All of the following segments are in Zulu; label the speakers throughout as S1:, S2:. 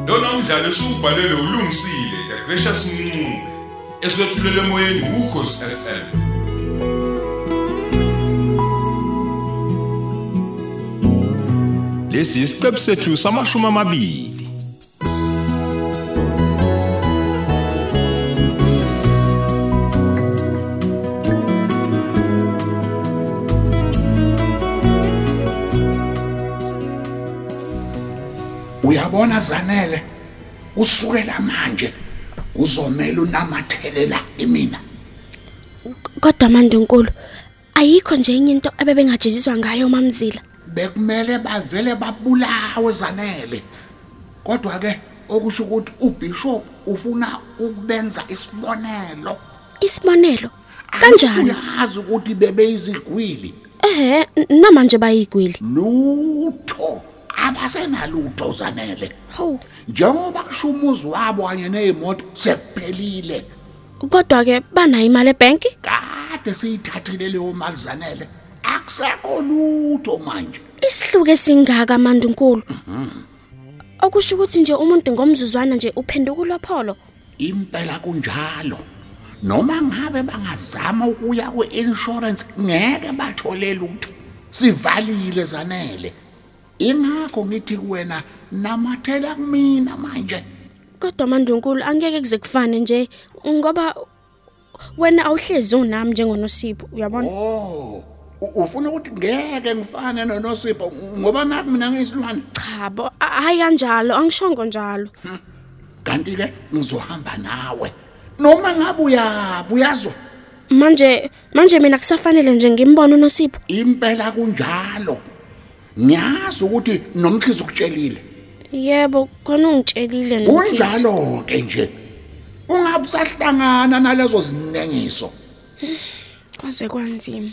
S1: umdlalo esubhalwe lo ulungisile the gracious mncube eswethulela emoyeni ukhosi FM
S2: lesi isiqebu sethu samashumi amabili
S3: uyabona zanele usukela manje kuzomela unamathelela imina
S4: Kodwa manje nkulu ayikho nje enye into ebebengajeziswa ngayo mamzila.
S3: bekumele bavele babulawe zanele kodwa ke okusho ukuthi ubishop ufuna ukubenza isibonelo
S4: Isibonelo kanjani?
S3: uyazi ukuthi bebeyizigwili
S4: Ehhe n- namanje bayigwili.
S3: lutho abasenalutho zanele
S4: Haw.
S3: njengoba kusho umuzi wabo kanye ney'moto sephelile
S4: Kodwa ke banayo imali ebank?
S3: kade siyithathile leyo mali zanele akusekho lutho manje
S4: Isihluke singaka manje nkulu. Okusho ukuthi nje umuntu ngomzuzwana nje uphenduka ulopholo.
S3: impela kunjalo noma ngabe bangazama ukuya kwi-insurance ngeke bathole lutho sivalile zanele ingakho ngithi kuwena namathela kumina manje
S4: Kodwa manje nkulu angeke kuze kufane nje ngoba wena awuhlezi unami njengonosipho uyabona?
S3: oh u- ufuna ukuthi ngeke ngifane nonosipho ngoba naku mina ngiyisilwane
S4: Cha bo a- hayi kanjalo angishongo njalo.
S3: kanti-ke ngizohamba nawe noma ngabe uyabo uyazwa
S4: Manje manje mina kusafanele nje ngimbone uNosipho.
S3: impela kunjalo ngiyazi ukuthi nomchizo ukutshelile
S4: Yebo, khona ungitshelile Nokhizo.
S3: kunjalo ke nje ungabe usahlangana nalezo zinengiso
S4: Kwaze kwanzima.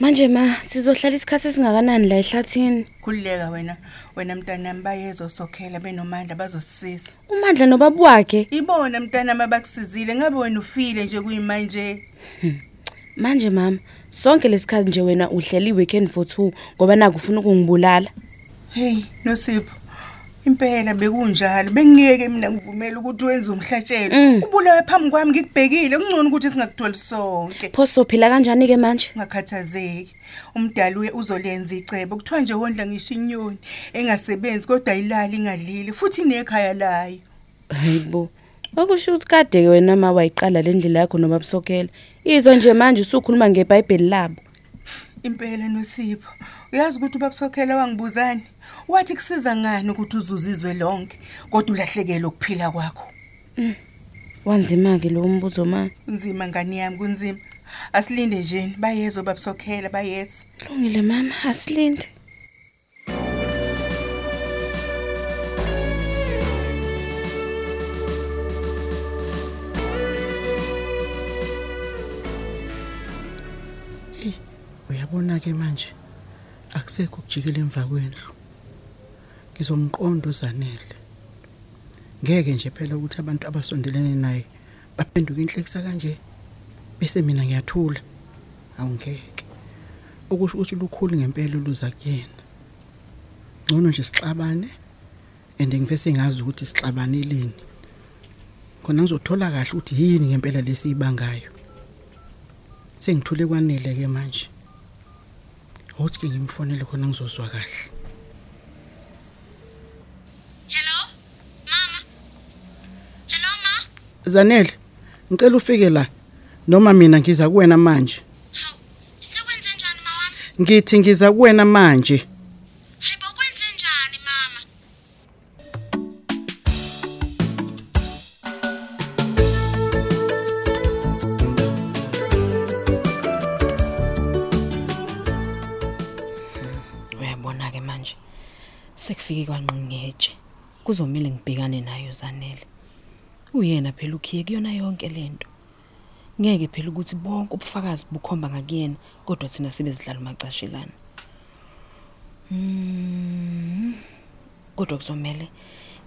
S5: manje ma sizohlala isikhathi esingakanani la ehlathini
S6: khululeka wena wena mntanami bayezosokhela benomandla bazosisiza
S5: umandla nobaba wakhe
S6: ibona mntanami abakusizile ngabe wena ufile nje kuyimanje
S5: manje mama sonke lesikhathi nje wena uhleli weekend for 2 ngoba naku ufuna ukungibulala
S6: hey nosipho impela bekunjalo bengiyeke mina ngivumela ukuthi wenze umhlatshelo
S5: Mm.
S6: ubulawe phambi kwami ngikubhekile kungcono ukuthi singakutholi sonke
S5: pho sophila kanjani ke manje
S6: ungakhathazeki umdali uye uzolenza icebo kuthiwa nje wondla ngisho inyoni engasebenzi kodwa ayilali ingadlili futhi inekhaya layo
S5: hayibo okusho ukuthi kade ke wena ma wayiqala le ndlela yakho nobaba sokhela izwa nje manje usukhuluma ngebhayibheli labo
S6: impela nosipho uyazi ukuthi ubabusokhela wangibuzani wathi kusiza ngani ukuthi uzuzizwe lonke kodwa ulahlekelwe ukuphila kwakho
S5: wanzima ke lo mbuzo ma
S6: kunzima ngani yami kunzima asilinde njeni bayeza ubabusokhela bayeza
S5: lungile mama asilinde
S7: uyabona ke manje akusekho ukujikela emva kwendlu ngizomqondo uzanele ngeke nje phela ukuthi abantu abasondelene naye baphenduka inhlekisa kanje bese mina ngiyathula awungeke okusho ukuthi lukhulu ngempela oluza kuyena ngcono nje sixabane and ngivese ngazi ukuthi sixabaneleni khona ngizothola kahle ukuthi yini ngempela lesiyibangayo sengithule kwanele ke manje uthi ke ngimfonele khona ngizozwa kahle
S4: Hello? Mama. Hello ma.
S7: zanele ngicela ufike la noma mina ngiza kuwena manje
S4: Haw. Sekwenze njani mawami?
S7: ngithi ngiza kuwena manje
S4: Hayibo kwenze njani mama?
S8: uyabona ke manje sekufike kwanqingeje kuzomela ngibhekane nayo zanele uyena phela ukhiye kuyona yonke lento ngeke phela ukuthi bonke ubufakazi bukhomba ngakuyena kodwa thina sibe sidlala umacashelana Hmm, mm. kodwa kuzomele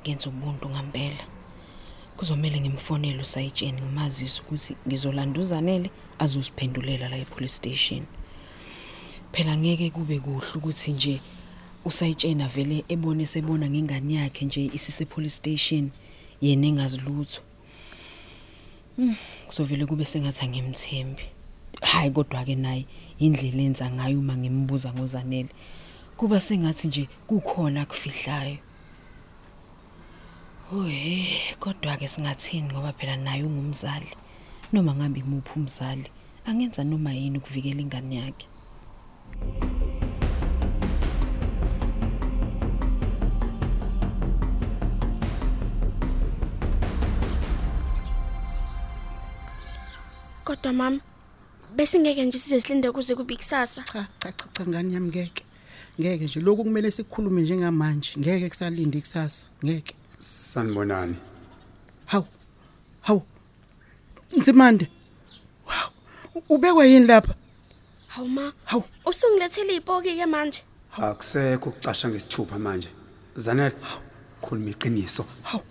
S8: ngenze ubuntu ngampela kuzomela ngimfonele usayitsheni ngimazise ukuthi ngizolanda uzanele azosiphendulela la epolice station phela ngeke kube kuhle ukuthi nje usayitshena vele ebone sebona ngengane yakhe nje isise police station yena engazilutho kuzovele kube sengathi angimthembi hayi kodwa ke naye indlela enza ngayo uma ngimbuza ngozanele kuba sengathi nje kukhona akufihlayo Uhe, kodwa ke singathini ngoba phela naye ungumzali. Noma ngabe imuphi umzali, angenza noma yini ukuvikela ingane yakhe.
S4: Kodwa mama, besingeke nje size silinde kuze kube ikusasa.
S7: cha cha cha cha ngani yami ngeke ngeke nje lokhu kumele sikhulume njengamanje ngeke kusalinde ikusasa ngeke
S9: sanibonani
S7: hawu hawu nsimande wow ubekwa yini lapha
S4: Hawu ma,
S7: hawu
S4: usungilethele ipoki ke manje.
S9: akusekho ukucasha ngesithupha manje zanele khuluma iqiniso
S7: hawu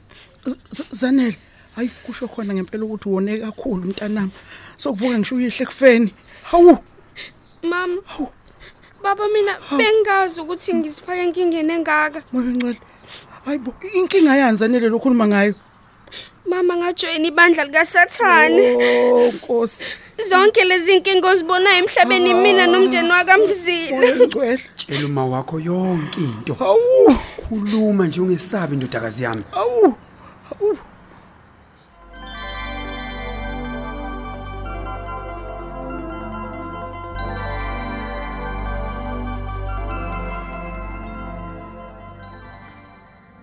S7: Z- Z- zanele hayi kusho khona ngempela ukuthi wone kakhulu mntanami sokuvuka ngisho uyihle kufeni hawu
S4: Mama. Baba mina bengazi ukuthi ngisifake enkingeni engaka.
S7: moya ngcwele hayi bo inkinga yani zanele lokhuluma ngayo
S4: Mama ngajoyina ibandla lika Sathane.
S7: oh nkosi
S4: Zonke lezi inkingo ozibonayo emhlabeni mina nomndeni wakamzile.
S7: moya ngcwele
S9: tshela uma wakho yonke into
S7: hawu
S9: khuluma nje ungesabi indodakazi yami
S7: hawu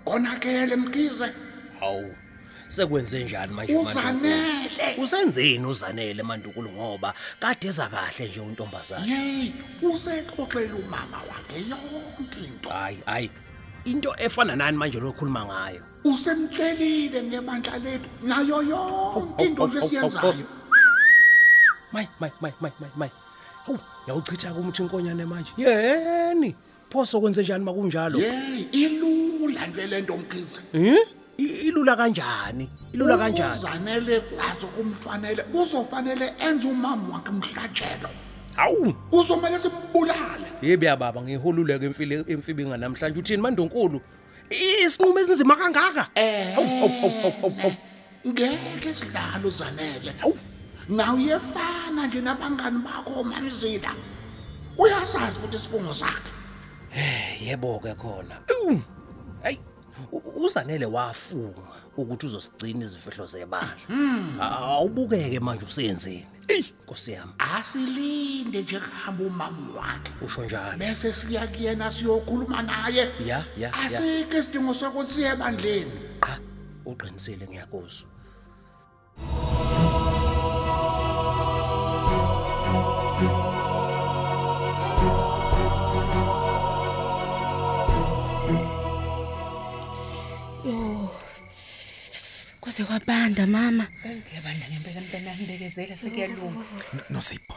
S3: konakele mkhize
S10: hawu sekwenze njani manje uMaNdukulu?
S3: uzanele
S10: usenzeni uzanele mandukulu ngoba kade eza kahle nje untombazana
S3: yeyi usexoxela umama wakhe yonke into
S10: hayi hayi into efana nani manje lokhuluma ngayo
S3: usemtshelile ngebandla lethu nayo yonke
S10: Hawu,
S3: into
S10: hawu, hawu, hawu,
S3: lesiyenzayo
S10: hawu. may may may may may may hawu yawuchitha kumuthi inkonyane manje yeni pho sokwenze njani makunjalo
S3: yeyi ilula nje le nto mkhize
S10: Hmm? I- ilula kanjani ilula kanjani
S3: uzanele kwazo kumfanele kuzofanele enze umama wakhe mhlatshelo
S10: hawu
S3: kuzomele simbulale
S10: yebe yababa ngihululeke emfile emfibinga namhlanje uthini mandonkulu isinqumo esinzima kangaka hawu hawu, hawu, hawu, hawu, hawu.
S3: ngeke sidlale uzanele
S10: Hawu.
S3: nawe uyefana nje nabangani bakho omamzila uyasazi ukuthi isifungo sakhe
S10: Eh, yebo ke khona Ewu, hayi u- uzanele wafunga ukuthi uzosigcina izifihlo zebandla A- awubukeke manje usenzeni Hmm. eyi nkosi yami
S3: asilinde nje kuhamba umama wakhe
S10: usho njalo
S3: bese siya kuyena siyokhuluma naye
S10: Ya, ya, ya.
S3: asikho isidingo sokuthi siye ebandleni
S10: qa uqinisile ngiyakuzwa
S5: yo kuze kwabanda mama
S6: ngiyabanda ngempela mntanami bekezela sekuyalunga
S9: nosipho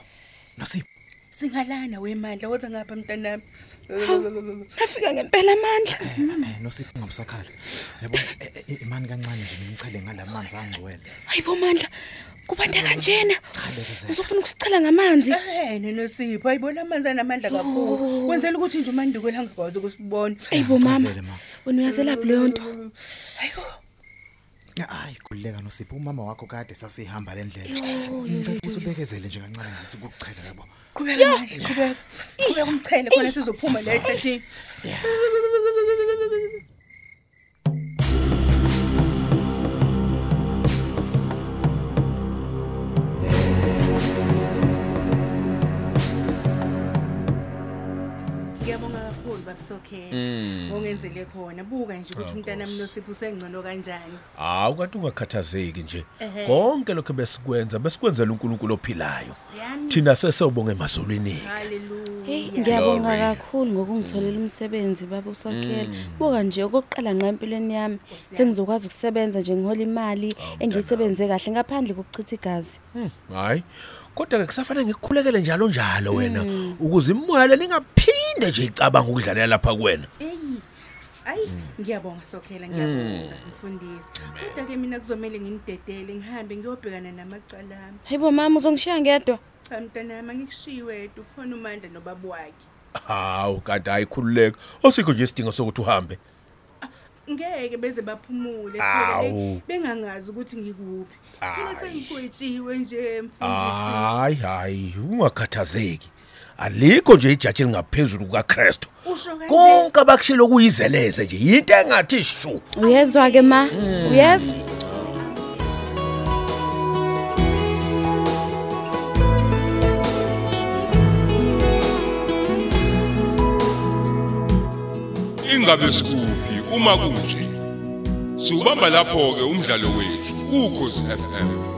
S9: nosipho
S6: singalana wemandla woza ngapha mntanami
S5: afika ngempela amandla
S9: Eh, nosipho ungabusakhala yabo eh, imani kancane nje ngimchele ngalamanzi angcwele
S5: hayibo mandla kubanda kanjena uzofuna ukusichela ngamanzi
S9: Eh,
S6: ene nosipho ayibona amanzi anamandla kakhulu wenzela ukuthi nje umandukulu angakwazi ukusibona
S5: hayibo mama wena uyazelaphi leyo nto
S6: hayibo
S9: hayi khululeka nosipho umama wakho kade sasihamba le ndlela
S5: Yo, yo, yo,
S9: ukuthi ubekezele nje kancane ngithi ukuchela yabo
S6: qhubeka mandla qhubeka qhubeka umchele khona sizophuma la ehlathini ngiyabonga kakhulu babusokhela ongenzele khona buka nje ukuthi umntanami nosipho usengcono kanjani
S11: hawu kanti ungakhathazeki nje
S6: Ehhe.
S11: konke lokho besikwenza besikwenzela unkulunkulu ophilayo
S6: siyami
S11: thina sesewubonga emazulwini
S5: Hey,
S6: haleluya
S5: ngiyabonga
S11: Glory.
S5: kakhulu ngokungitholela umsebenzi baba usakhela. Buka nje okokuqala nqa empilweni yami sengizokwazi ukusebenza nje ngihola imali engiyisebenze kahle ngaphandle kokuchitha igazi.
S3: Hmm,
S11: hayi kodwa-ke kusafanele ngikukhulekele njalo njalo wena ukuze imoya le ningaphinde nje icabanga ukudlalela lapha kuwena
S6: eyi ayi ngiyabonga sokhela ngiyabonga mfundisi kodwa ke mina kuzomela nginidedele ngihambe ngiyobhekana namacalami
S5: hayibo mama uzongishiya ngedwa
S6: cha mntanami angikushiyi wedwa ukhona umandla nobaba wakhe
S3: hawu kanti ayikhululeka osikho nje isidingo sokuthi uhambe
S6: ngeke beze baphumule
S3: Awu.
S6: phela be- bengangazi ukuthi ngikuphi phela sengigwetshiwe nje mfundisi
S3: hayi hayi ungakhathazeki alikho nje ijaji elingaphezulu kukaKristu
S6: usho kanje
S3: konke abakushilo kuyizeleze nje into engathi shu
S5: uyezwa ke ma uyezwa
S1: ingabe sikuphi uma kunje siubamba lapho ke umdlalo wethu ukhozi FM